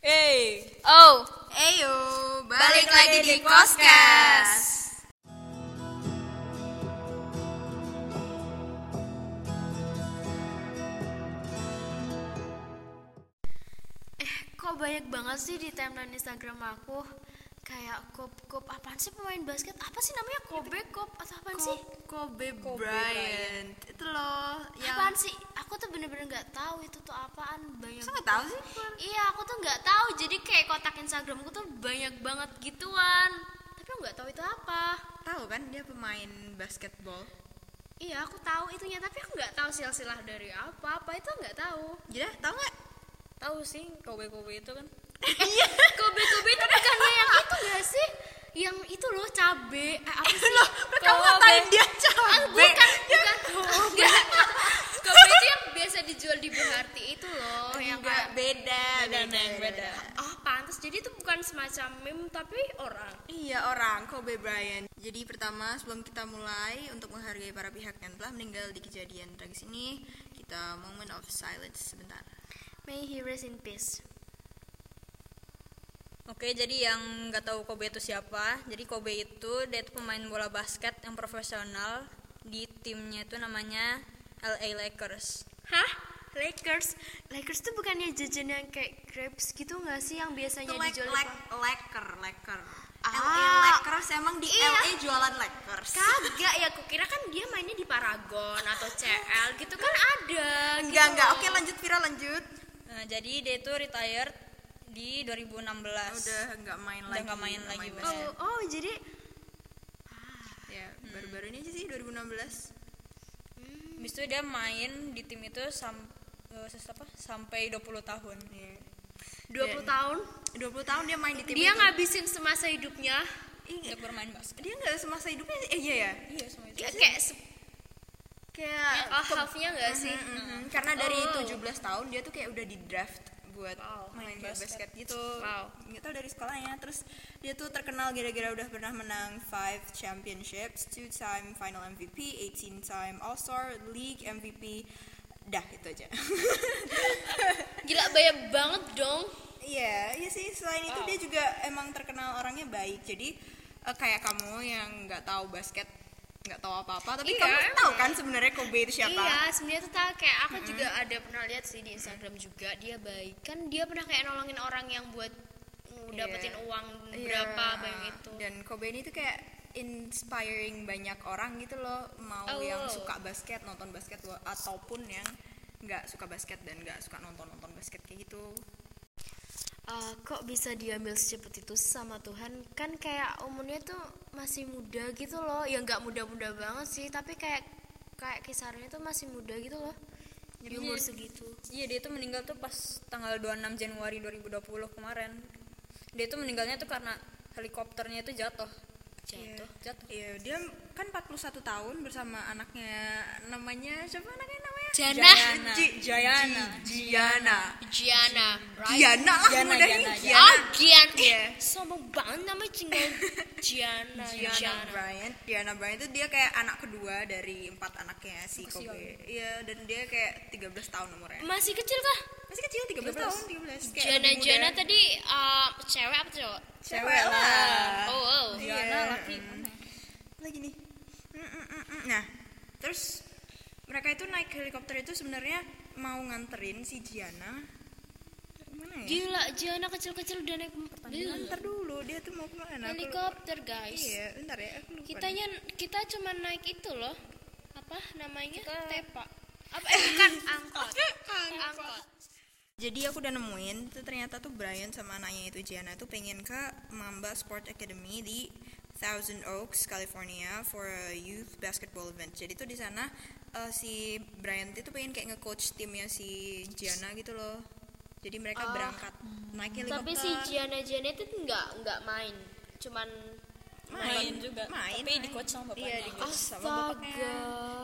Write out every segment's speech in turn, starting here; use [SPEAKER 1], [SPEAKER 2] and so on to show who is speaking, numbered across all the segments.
[SPEAKER 1] Hey,
[SPEAKER 2] Oh,
[SPEAKER 3] Eyo, balik lagi di Koskas.
[SPEAKER 2] Eh, kok banyak banget sih di timeline Instagram aku kayak kop kop apaan sih pemain basket apa sih namanya Kobe kop atau apaan sih
[SPEAKER 3] Kobe Bryant. Itu loh yang
[SPEAKER 2] apaan sih aku tuh bener-bener nggak tahu itu tuh apaan banyak
[SPEAKER 3] Masa nggak tahu sih?
[SPEAKER 2] iya aku tuh nggak tahu jadi kayak kotak Instagramku tuh banyak banget gituan tapi aku nggak tahu itu apa
[SPEAKER 3] Tahu kan dia pemain basketball.
[SPEAKER 2] iya aku tahu itunya tapi aku nggak tahu silsilah dari apa apa itu nggak tahu
[SPEAKER 3] Jadi tahu nggak?
[SPEAKER 1] tahu sih kobe-kobe itu kan?
[SPEAKER 2] Kobe-kobe Iya. itu bukannya yang itu gak sih? Yang itu loh cabe eh, apa sih?
[SPEAKER 3] Loh, mereka
[SPEAKER 2] Kobe.
[SPEAKER 3] ngatain dia
[SPEAKER 2] Ah,
[SPEAKER 3] cabe.
[SPEAKER 2] bukan, bukan. Enggak. Kobe itu yang biasa dijual di Berharti itu loh, yang
[SPEAKER 3] Nggak,
[SPEAKER 2] kayak
[SPEAKER 3] Oh, beda,
[SPEAKER 1] Beda, Neng, beda.
[SPEAKER 2] oh pantas. Jadi itu bukan semacam meme tapi orang.
[SPEAKER 3] Iya orang Kobe Bryant. Jadi pertama sebelum kita mulai untuk menghargai para pihak yang telah meninggal di kejadian tragis ini, kita moment of silence sebentar.
[SPEAKER 2] May he rest in peace.
[SPEAKER 1] Oke, jadi yang nggak tahu Kobe itu siapa? Jadi Kobe itu dia itu pemain bola basket yang profesional di timnya itu namanya LA Lakers.
[SPEAKER 2] Hah? Lakers. Lakers tuh bukannya jajan yang kayak grapes gitu gak sih yang biasanya
[SPEAKER 3] Lek,
[SPEAKER 2] dijual? di
[SPEAKER 3] lek,
[SPEAKER 2] Bang-
[SPEAKER 3] leker, leker.
[SPEAKER 2] Ah.
[SPEAKER 3] LA Lakers emang di
[SPEAKER 2] Iya.
[SPEAKER 3] LA jualan Lakers.
[SPEAKER 2] Kagak ya, kukira kan dia mainnya di Paragon atau CL gitu kan ada.
[SPEAKER 3] Enggak,
[SPEAKER 2] gitu
[SPEAKER 3] enggak.
[SPEAKER 2] loh.
[SPEAKER 3] Oke, lanjut Vira lanjut.
[SPEAKER 1] Nah, jadi dia itu retired di 2016.
[SPEAKER 3] Udah enggak main
[SPEAKER 1] Udah
[SPEAKER 3] lagi.
[SPEAKER 1] nggak main
[SPEAKER 3] nggak
[SPEAKER 1] lagi,
[SPEAKER 3] basket.
[SPEAKER 2] Oh, oh jadi
[SPEAKER 3] Ya, baru-baru ini aja sih 2016.
[SPEAKER 1] Habis itu dia main di tim itu sam- eh, ses- apa? sampai 20 tahun.
[SPEAKER 2] 20
[SPEAKER 3] Dan-
[SPEAKER 2] tahun
[SPEAKER 3] 20 tahun Iya. dia main di tim
[SPEAKER 2] dia
[SPEAKER 3] itu.
[SPEAKER 2] ngabisin semasa hidupnya
[SPEAKER 3] Iya,
[SPEAKER 1] Untuk bermain basket.
[SPEAKER 3] dia enggak semasa hidupnya sih. Eh, iya ya.
[SPEAKER 1] Iya, sama itu.
[SPEAKER 2] kayak kayak se-
[SPEAKER 3] Kayak
[SPEAKER 2] oh, half-nya enggak sih?
[SPEAKER 3] Mm, mm, mm. karena dari
[SPEAKER 2] Oh.
[SPEAKER 3] 17 tahun dia tuh kayak udah di draft buat
[SPEAKER 1] Wow,
[SPEAKER 3] main
[SPEAKER 1] main basket.
[SPEAKER 3] basket. gitu.
[SPEAKER 2] Wow.
[SPEAKER 3] Nggak tahu dari sekolahnya. Terus dia tuh terkenal gara-gara udah pernah menang 5 championships, 2 time final MVP, 18 time All-Star, League MVP. Dah, itu aja.
[SPEAKER 2] Gila banyak banget dong.
[SPEAKER 3] Iya, iya sih. Selain itu
[SPEAKER 2] Wow.
[SPEAKER 3] dia juga emang terkenal orangnya baik. Jadi eh, kayak kamu yang nggak tahu basket, nggak tahu apa-apa, tapi
[SPEAKER 2] Iya,
[SPEAKER 3] kamu
[SPEAKER 2] emang.
[SPEAKER 3] tahu kan sebenarnya Kobe itu siapa?
[SPEAKER 2] Iya, sebenarnya tuh tahu kayak aku juga ada pernah lihat sih di Instagram juga dia baik. Kan dia pernah kayak nolongin orang yang buat dapetin
[SPEAKER 3] Iya.
[SPEAKER 2] uang
[SPEAKER 3] Iya,
[SPEAKER 2] berapa banyak itu.
[SPEAKER 3] dan Kobe ini tuh kayak inspiring banyak orang gitu loh mau
[SPEAKER 2] Oh.
[SPEAKER 3] yang suka basket nonton basket wa- ataupun yang nggak suka basket dan nggak suka nonton nonton basket kayak gitu
[SPEAKER 2] Eh, kok bisa diambil secepat itu sama Tuhan kan kayak umurnya tuh masih muda gitu loh ya nggak muda-muda banget sih tapi kayak kayak kisarannya tuh masih muda gitu loh di
[SPEAKER 1] Jadinya-
[SPEAKER 2] umur segitu
[SPEAKER 1] Iya dia itu meninggal tuh pas tanggal 26 Januari 2020 kemarin. Dia itu meninggalnya tuh karena helikopternya itu jatuh.
[SPEAKER 2] jatuh
[SPEAKER 1] Gitu, Jatuh.
[SPEAKER 3] Iya, dia kan 41 tahun bersama anaknya namanya siapa anaknya namanya
[SPEAKER 2] Jana.
[SPEAKER 3] Jayana Ji- Jayana Jiana
[SPEAKER 2] Giana right
[SPEAKER 3] Jiana lah
[SPEAKER 1] Jana,
[SPEAKER 3] mudahnya
[SPEAKER 1] Jana,
[SPEAKER 3] Jiana.
[SPEAKER 2] oh Gian eh,
[SPEAKER 3] Iya.
[SPEAKER 2] sombong banget namanya cinggal Giana
[SPEAKER 3] Diana
[SPEAKER 2] Giana
[SPEAKER 3] Bryant Diana Bryant itu dia kayak anak kedua dari empat anaknya si
[SPEAKER 1] Kesian.
[SPEAKER 3] Kobe iya dan dia kayak 13 tahun umurnya
[SPEAKER 2] masih kecil kah
[SPEAKER 3] masih kecil 13, tahun 13 kayak
[SPEAKER 2] Giana
[SPEAKER 3] lebih muda.
[SPEAKER 2] Giana tadi eh, cewek apa cowok
[SPEAKER 3] cewek lah
[SPEAKER 2] oh, oh.
[SPEAKER 3] Iya.
[SPEAKER 1] Diana laki.
[SPEAKER 3] lagi nih Mm, mm, mm, mm. nah terus mereka itu naik helikopter itu sebenarnya mau nganterin si Giana mana ya
[SPEAKER 2] gila Giana kecil-kecil udah naik pertandingan
[SPEAKER 3] nganter dulu dia tuh mau kemana Aku lupa.
[SPEAKER 2] helikopter guys
[SPEAKER 3] iya bentar ya aku lupa
[SPEAKER 2] kitanya kita cuma naik itu loh apa namanya tepa apa eh, bukan angkot angkot
[SPEAKER 3] Jadi aku udah nemuin tuh ternyata tuh Brian sama anaknya itu Gianna tuh pengen ke Mamba Sport Academy di Thousand Oaks, California for a youth basketball event. Jadi tuh di sana eh, si Brian itu pengen kayak nge-coach timnya si Gianna gitu loh. Jadi mereka berangkat naik helikopter.
[SPEAKER 2] tapi si Giana Giana itu nggak nggak main cuman
[SPEAKER 1] main juga.
[SPEAKER 3] Main,
[SPEAKER 1] Tapi
[SPEAKER 3] main.
[SPEAKER 1] di coach sama bapaknya. Ah,
[SPEAKER 3] Iya, di coach sama
[SPEAKER 2] Astaga.
[SPEAKER 3] bapaknya.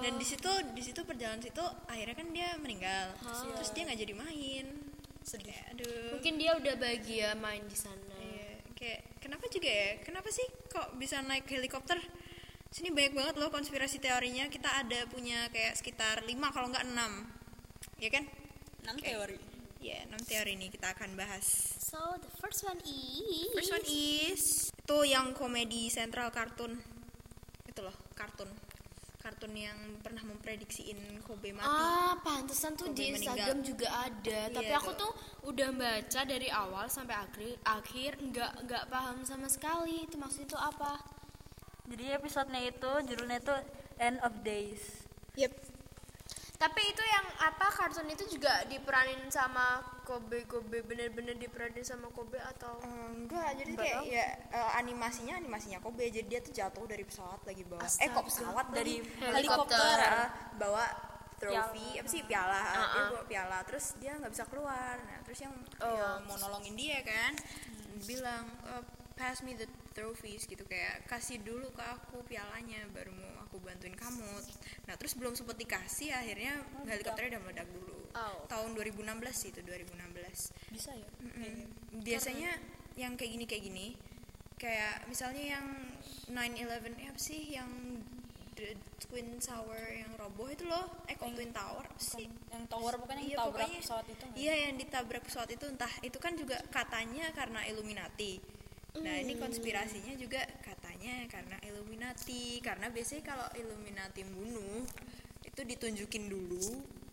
[SPEAKER 3] Dan di situ di situ perjalanan situ akhirnya kan dia meninggal. Terus dia nggak jadi main. Sedih. aduh.
[SPEAKER 2] mungkin dia udah bahagia main di sana
[SPEAKER 3] Iya, kayak kenapa juga ya? Kenapa sih kok bisa naik helikopter? Sini banyak banget loh konspirasi teorinya. Kita ada punya kayak sekitar 5 kalau nggak 6. Ya kan?
[SPEAKER 1] Enam teori.
[SPEAKER 3] Ya, enam teori ini kita akan bahas.
[SPEAKER 4] So the first one is
[SPEAKER 3] First one is itu yang komedi sentral kartun. Itu loh, kartun. Kartun yang pernah memprediksiin Kobe mati.
[SPEAKER 2] Ah, pantesan tuh
[SPEAKER 3] Kobe
[SPEAKER 2] di
[SPEAKER 3] meninggal.
[SPEAKER 2] Instagram juga ada. Tapi
[SPEAKER 3] Iya,
[SPEAKER 2] aku
[SPEAKER 3] tuh.
[SPEAKER 2] tuh udah baca dari awal sampai akhir, akhir nggak nggak paham sama sekali. Itu maksudnya itu apa?
[SPEAKER 1] Jadi episodenya itu judulnya itu End of Days.
[SPEAKER 3] Yep.
[SPEAKER 2] Tapi itu yang apa kartun itu juga diperanin sama Kobe Kobe bener-bener diperanin sama Kobe atau
[SPEAKER 3] enggak, jadi kayak ya eh, animasinya animasinya Kobe jadi dia tuh jatuh dari pesawat lagi bawa eh kok
[SPEAKER 2] Astaga.
[SPEAKER 3] pesawat
[SPEAKER 1] Dari
[SPEAKER 3] dari helikopter ah, bawa trofi apa sih piala ah, dia bawa piala terus dia nggak bisa keluar nah terus yang, yang mau nolongin dia kan bilang "Eh, pass me the trophies gitu kayak kasih dulu ke aku pialanya baru mau aku bantuin kamu nah terus belum sempet dikasih akhirnya helikopternya udah meledak dulu
[SPEAKER 2] Oh.
[SPEAKER 3] tahun 2016 sih itu 2016
[SPEAKER 1] Bisa ya?
[SPEAKER 3] Mm-mm. biasanya yang kayak gini kayak gini kayak misalnya yang 911 eh, apa sih yang the twin tower yang roboh itu loh eh kok twin tower apa sih
[SPEAKER 1] Iya. Yang tower bukan yang
[SPEAKER 3] Iya,
[SPEAKER 1] tabrak
[SPEAKER 3] pokoknya-
[SPEAKER 1] pesawat itu nggak?
[SPEAKER 3] iya yang ditabrak pesawat itu entah itu kan juga katanya karena Illuminati nah
[SPEAKER 1] Mm.
[SPEAKER 3] ini konspirasinya juga katanya karena Illuminati karena biasanya kalau Illuminati bunuh itu ditunjukin dulu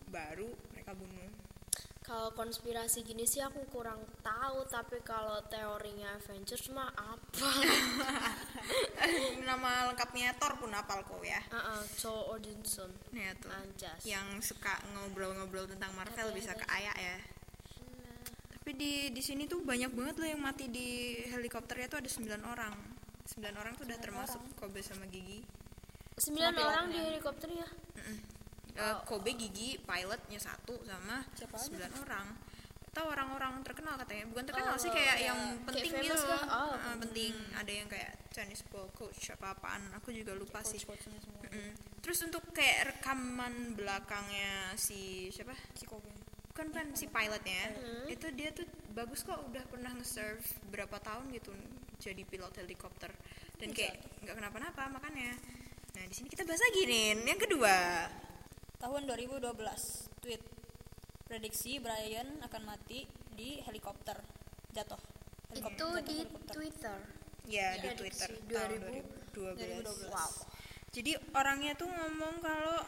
[SPEAKER 3] baru mereka bunuh
[SPEAKER 2] Kalau konspirasi gini sih aku kurang tahu, tapi kalau teorinya Avengers mah apa?
[SPEAKER 3] nama lengkapnya Thor pun hafal kok ya
[SPEAKER 2] Heeh, Ah, Joe Odinson.
[SPEAKER 3] Nah, tuh.
[SPEAKER 2] Anjas.
[SPEAKER 3] Yang suka ngobrol-ngobrol tentang Marvel bisa ke Aya ya. Tapi di di sini tuh banyak banget loh yang mati di helikopternya tuh ada 9 orang. 9 orang tuh udah termasuk Kobe sama Gigi.
[SPEAKER 2] Sembilan orang di helikopter ya?
[SPEAKER 3] Mm-mm. Eh, Kobe, Gigi, pilotnya satu sama 9 orang. Atau orang-orang terkenal katanya. Bukan terkenal sih kayak yang penting gitu.
[SPEAKER 2] famous
[SPEAKER 3] loh.
[SPEAKER 2] kah? Oh,
[SPEAKER 3] Eh, penting. Ada yang kayak Chinese ball coach apa-apaan. Aku juga lupa sih.
[SPEAKER 1] Coachnya semua.
[SPEAKER 3] Mm-mm. Terus untuk kayak rekaman belakangnya si siapa?
[SPEAKER 1] Si Kobe.
[SPEAKER 3] bukan kan si pilotnya itu dia tuh bagus kok udah pernah nge-serve berapa tahun gitu jadi pilot helikopter dan kayak nggak kenapa-napa makanya nah di sini kita bahas lagi nih yang kedua
[SPEAKER 1] Tahun 2012, tweet. Prediksi Brian akan mati di helikopter. Jatuh. Helikopter.
[SPEAKER 2] Itu
[SPEAKER 1] jatuh
[SPEAKER 2] di
[SPEAKER 1] helikopter.
[SPEAKER 2] Twitter.
[SPEAKER 3] ya di Twitter tahun 2012. Jadi orangnya tuh ngomong kalau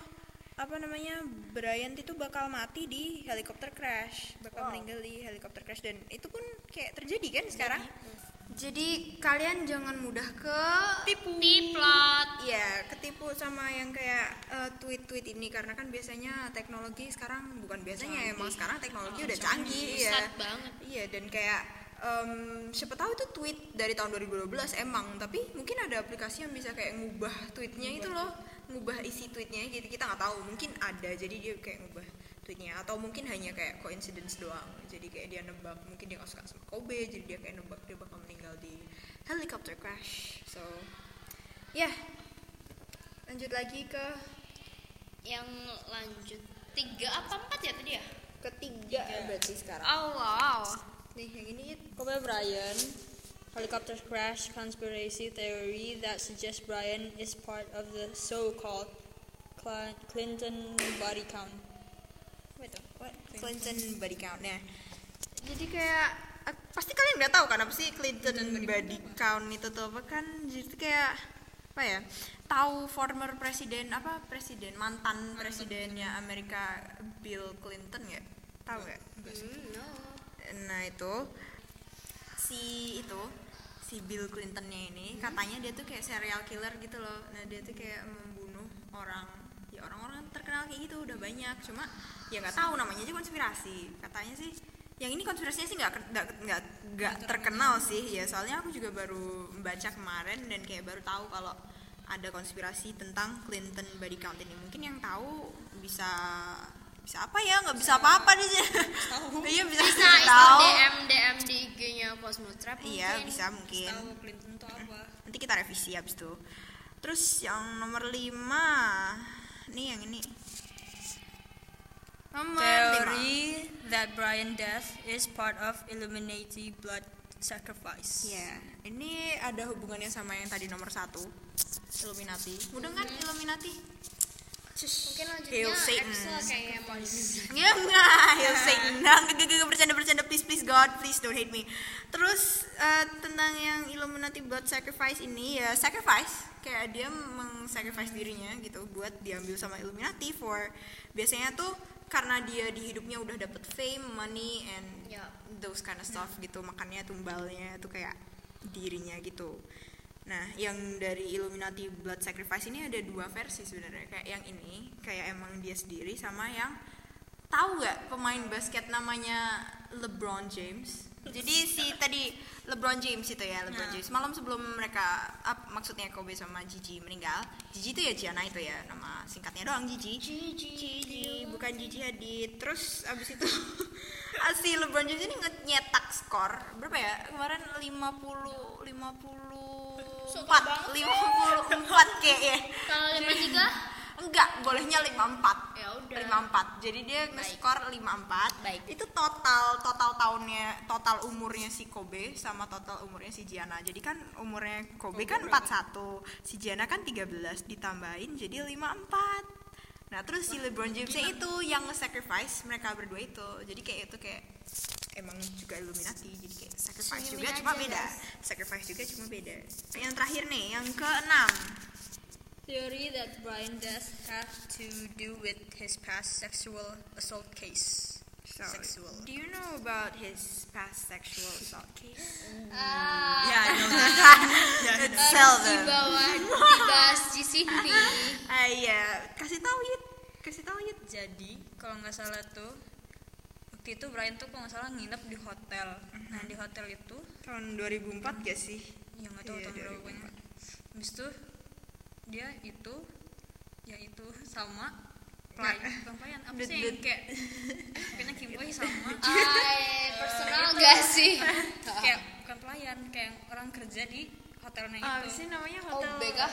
[SPEAKER 3] apa namanya Bryant itu bakal mati di helikopter crash, bakal meninggal di helikopter crash dan itu pun kayak terjadi kan sekarang. Jadi kalian jangan mudah ke tipu. Iya, ketipu sama yang kayak eh, tweet-tweet ini karena kan biasanya teknologi sekarang bukan biasanya emang sekarang teknologi udah canggih ya.
[SPEAKER 2] banget.
[SPEAKER 3] Iya, dan kayak em, siapa tahu itu tweet dari tahun 2012 emang, tapi mungkin ada aplikasi yang bisa kayak ngubah tweetnya itu loh, ngubah isi tweetnya gitu kita nggak tahu. Mungkin ada, jadi dia kayak ngubah tweetnya atau mungkin hanya kayak coincidence doang. Jadi kayak dia nebak, mungkin dia nggak suka sama Kobe, jadi dia kayak nebak dia bakal meninggal di helicopter crash. So, ya. Lanjut lagi ke
[SPEAKER 4] yang lanjut tiga apa empat ya tadi ya?
[SPEAKER 3] ketiga berarti sekarang.
[SPEAKER 4] Oh wow.
[SPEAKER 3] Nih, yang ini Yit.
[SPEAKER 1] Kobe Bryant, helicopter crash conspiracy theory that suggests Bryant is part of the so-called Cla- Clinton body count.
[SPEAKER 3] What? Clinton body count nah
[SPEAKER 1] Jadi kayak
[SPEAKER 3] eh, pasti kalian udah tahu kan apa sih Clinton body count itu tuh apa kan jadi kayak apa ya tahu former presiden apa presiden mantan presidennya Amerika Bill Clinton ya tahu nggak Hmm, nah itu si itu si Bill Clintonnya ini katanya dia tuh kayak serial killer gitu loh nah dia tuh kayak membunuh orang ya orang-orang terkenal kayak gitu udah banyak cuma ya nggak tahu namanya aja konspirasi katanya sih yang ini konspirasinya sih nggak ker- nggak nggak nggak terkenal sih ya soalnya aku juga baru membaca kemarin dan kayak baru tahu kalau ada konspirasi tentang Clinton body count ini mungkin yang tahu bisa bisa apa ya nggak bisa apa-apa di sini iya bisa,
[SPEAKER 4] Bisa
[SPEAKER 3] bisa
[SPEAKER 4] itu
[SPEAKER 3] tahu
[SPEAKER 4] DM DM di IG-nya Cosmo Trap
[SPEAKER 3] Iya
[SPEAKER 4] mungkin.
[SPEAKER 3] bisa mungkin.
[SPEAKER 1] tahu Clinton itu apa?
[SPEAKER 3] Nanti kita revisi abis itu. Terus yang nomor lima, nih yang ini. Nomor lima.
[SPEAKER 1] Theory that Brian death is part of Illuminati blood sacrifice.
[SPEAKER 3] Iya, ini ada hubungannya sama yang tadi nomor satu, Illuminati. Mudah kan Illuminati?
[SPEAKER 4] Mungkin lanjutnya
[SPEAKER 3] Hail Satan.
[SPEAKER 4] Axel kayak mau disini.
[SPEAKER 3] Ya enggak, Hail Satan. Enggak, enggak, enggak, bercanda-bercanda. Please, please God, please don't hate me. Terus eh, tentang yang Illuminati blood sacrifice ini ya sacrifice. Kayak dia meng-sacrifice dirinya gitu buat diambil sama Illuminati for biasanya tuh karena dia di hidupnya udah dapet fame, money and
[SPEAKER 4] Ya.
[SPEAKER 3] those kind of stuff gitu. Makannya tumbalnya tuh kayak dirinya gitu. Nah, yang dari Illuminati Blood Sacrifice ini ada dua versi sebenarnya. Kayak yang ini, kayak emang dia sendiri sama yang tahu nggak pemain basket namanya LeBron James? Jadi si tadi LeBron James itu ya LeBron James. Malam sebelum mereka up, maksudnya Kobe sama Gigi meninggal. Gigi itu ya Gianna itu ya nama singkatnya doang Gigi. Gigi bukan Gigi Hadid. Terus abis itu si LeBron James ini nge- nyetak skor berapa ya kemarin 50 50
[SPEAKER 4] Suka banget.
[SPEAKER 3] 4 54 kayaknya
[SPEAKER 4] Kalau lima tiga
[SPEAKER 3] Enggak, bolehnya 54.
[SPEAKER 4] Ya udah.
[SPEAKER 3] 54. Jadi dia nge-skor 54.
[SPEAKER 4] Baik.
[SPEAKER 3] Itu total total tahunnya total umurnya si Kobe sama total umurnya si Gianna. Jadi kan umurnya Kobe, kan 41, si Gianna kan 13 ditambahin jadi 54. Nah, terus si LeBron James itu yang nge-sacrifice mereka berdua itu. Jadi kayak itu kayak emang juga Illuminati jadi kayak sacrifice juga
[SPEAKER 4] Illuminati
[SPEAKER 3] cuma
[SPEAKER 4] aja,
[SPEAKER 3] beda sacrifice juga cuma beda yang terakhir nih yang keenam
[SPEAKER 1] Theory that Brian does have to do with his past sexual assault case.
[SPEAKER 3] So,
[SPEAKER 1] Sexual.
[SPEAKER 3] Do you know about his past sexual assault case?
[SPEAKER 4] Ah,
[SPEAKER 1] Yeah, I know that.
[SPEAKER 3] It's
[SPEAKER 4] harus di bawah dibahas di sini.
[SPEAKER 3] Ah iya, kasih tahu Yit. Kasih tahu Yit.
[SPEAKER 1] Jadi kalau nggak salah tuh waktu itu Brian tuh kalau nggak salah nginep di hotel. Nah
[SPEAKER 3] Mhm.
[SPEAKER 1] di hotel itu
[SPEAKER 3] Tahun 2004 gak sih?
[SPEAKER 1] ya nggak tahu
[SPEAKER 3] Iya,
[SPEAKER 1] tahun berapa pokoknya. Habis itu dia itu yaitu
[SPEAKER 3] Nah.
[SPEAKER 1] sama Brian, bukan Brian, apa
[SPEAKER 3] Dut,
[SPEAKER 1] sih yang
[SPEAKER 3] dut.
[SPEAKER 1] kayak pokoknya Kim Boy sama
[SPEAKER 3] Iya.
[SPEAKER 4] Ah, personal gak sih?
[SPEAKER 1] kayak bukan pelayan kayak orang kerja di hotelnya
[SPEAKER 3] Ah,
[SPEAKER 1] itu
[SPEAKER 3] sih Oh, namanya hotel.
[SPEAKER 4] hotel- OB kah?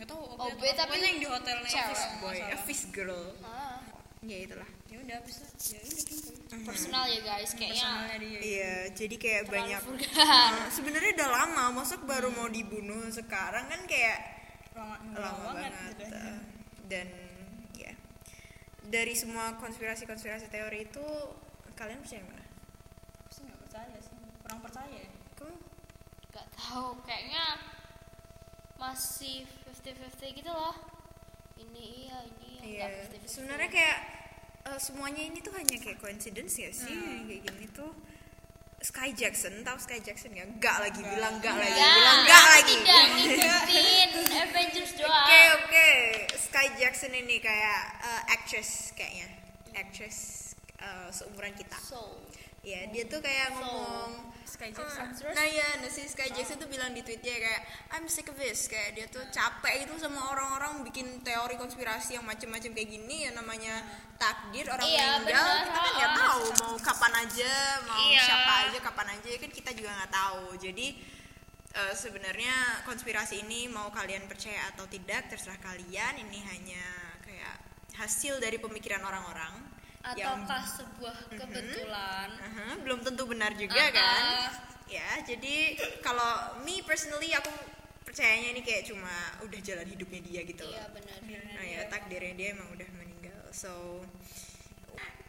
[SPEAKER 1] nggak tahu
[SPEAKER 4] OB
[SPEAKER 1] OB atau
[SPEAKER 4] tapi
[SPEAKER 1] pokoknya yang di hotelnya itu
[SPEAKER 4] cewek.
[SPEAKER 1] kalau
[SPEAKER 3] Boy,
[SPEAKER 1] nggak
[SPEAKER 3] a
[SPEAKER 1] salah.
[SPEAKER 3] fish girl.
[SPEAKER 4] Ah,
[SPEAKER 3] Ya itulah.
[SPEAKER 1] ya udah habis itu ya udah Kim Boy
[SPEAKER 4] personal ya guys, kayaknya.
[SPEAKER 1] personalnya dia
[SPEAKER 3] Iya, jadi kayak
[SPEAKER 4] Terlalu
[SPEAKER 3] banyak.
[SPEAKER 4] vulgar.
[SPEAKER 3] Eh, Sebenarnya udah lama, masuk baru mau dibunuh sekarang kan kayak
[SPEAKER 1] lama, gitu.
[SPEAKER 3] lama banget,
[SPEAKER 4] gitu
[SPEAKER 3] eh, dan ya dari semua konspirasi-konspirasi teori itu kalian percaya yang mana?
[SPEAKER 1] Aku sih nggak percaya sih kurang percaya ya.
[SPEAKER 3] Kamu
[SPEAKER 4] Gak tahu, kayaknya masih 50-50 gitu loh. Ini iya, ini iya.
[SPEAKER 3] Iya,
[SPEAKER 4] nggak 50-50.
[SPEAKER 3] sebenarnya kayak eh, semuanya ini tuh hanya kayak coincidence ya sih Yang
[SPEAKER 4] Hmm.
[SPEAKER 3] kayak gini tuh Sky Jackson tahu Sky Jackson ya enggak lagi bilang enggak lagi
[SPEAKER 4] Nggak,
[SPEAKER 3] bilang enggak lagi
[SPEAKER 4] Tidak ngikutin Avengers doang.
[SPEAKER 3] oke oke Sky Jackson ini kayak eh, actress kayaknya actress eh, seumuran kita
[SPEAKER 4] So,
[SPEAKER 3] ya dia tuh kayak ngomong
[SPEAKER 1] Sky
[SPEAKER 3] Ah,
[SPEAKER 1] Jackson
[SPEAKER 3] Nah iya, nah, si Sky Jackson tuh bilang di tweetnya kayak I'm sick of this, kayak dia
[SPEAKER 4] Nah.
[SPEAKER 3] tuh capek itu sama orang-orang bikin teori konspirasi yang macem-macem kayak gini ya namanya takdir orang
[SPEAKER 4] Iya,
[SPEAKER 3] meninggal
[SPEAKER 4] bener,
[SPEAKER 3] kita kan nggak
[SPEAKER 4] oh, oh.
[SPEAKER 3] tahu mau kapan aja mau
[SPEAKER 4] Iya.
[SPEAKER 3] siapa aja kapan aja kan kita juga nggak tahu jadi eh, sebenarnya konspirasi ini mau kalian percaya atau tidak terserah kalian ini hanya kayak hasil dari pemikiran orang-orang yang
[SPEAKER 4] ataukah sebuah kebetulan?
[SPEAKER 3] Aha, belum tentu benar juga
[SPEAKER 4] Ah,
[SPEAKER 3] kan
[SPEAKER 4] ah.
[SPEAKER 3] ya jadi kalau me personally aku percayanya ini kayak cuma udah jalan hidupnya dia gitu loh
[SPEAKER 4] Iya, benar.
[SPEAKER 3] nah ya takdirnya dia emang udah meninggal so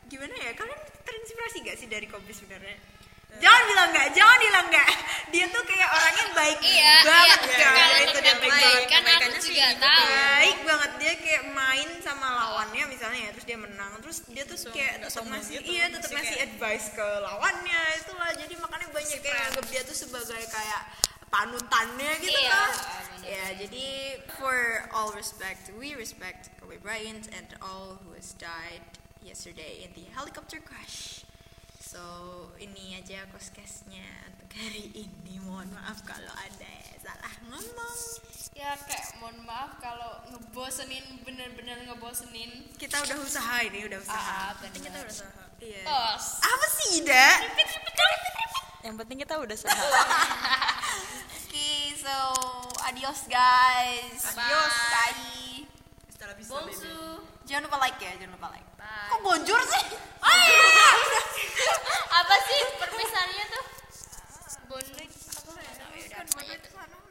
[SPEAKER 3] gimana ya kalian terinspirasi gak sih dari kopi sebenarnya
[SPEAKER 4] Eh.
[SPEAKER 3] jangan bilang nggak jangan bilang nggak dia tuh kayak orangnya baik
[SPEAKER 4] Iya, iya.
[SPEAKER 3] banget kan
[SPEAKER 4] Kalau
[SPEAKER 3] itu
[SPEAKER 4] tetap
[SPEAKER 3] dia baik
[SPEAKER 4] baik,
[SPEAKER 3] banget
[SPEAKER 4] kan aku
[SPEAKER 3] Kebaikannya sih
[SPEAKER 4] juga
[SPEAKER 3] gitu.
[SPEAKER 4] tahu.
[SPEAKER 3] baik banget dia kayak main sama lawannya misalnya ya terus dia menang terus dia tuh kayak
[SPEAKER 1] nggak
[SPEAKER 3] tetap
[SPEAKER 1] sombong
[SPEAKER 3] masih
[SPEAKER 1] gitu,
[SPEAKER 3] iya tetap
[SPEAKER 1] masih
[SPEAKER 3] masih
[SPEAKER 1] kayak-
[SPEAKER 3] advice ke lawannya itulah jadi makanya banyak yang anggap dia tuh sebagai kayak panutannya gitu
[SPEAKER 4] Iya,
[SPEAKER 3] kan
[SPEAKER 4] bener.
[SPEAKER 3] ya jadi for all respect we respect Kobe Bryant and all who has died yesterday in the helicopter crash so ini aja koskesnya untuk hari ini mohon maaf kalau ada salah ngomong
[SPEAKER 4] Ya kayak mohon maaf kalau ngebosenin bener-bener ngebosenin.
[SPEAKER 3] kita udah usaha ini udah usaha
[SPEAKER 4] Ah,
[SPEAKER 1] penting kita
[SPEAKER 4] bener. Oh,
[SPEAKER 1] udah usaha
[SPEAKER 3] iya
[SPEAKER 4] Tos.
[SPEAKER 3] apa sih tidak
[SPEAKER 1] yang penting kita udah usaha
[SPEAKER 3] Okay, so adios guys. Adios. Bye.
[SPEAKER 1] setelah bisa
[SPEAKER 4] Bonsu.
[SPEAKER 3] Jangan lupa like ya, jangan lupa like.
[SPEAKER 4] Bye.
[SPEAKER 3] Kok bonjur sih?
[SPEAKER 4] Apa sih perpisahannya tuh? Bonus. Apa ya?
[SPEAKER 3] Kan bonjur ke sana.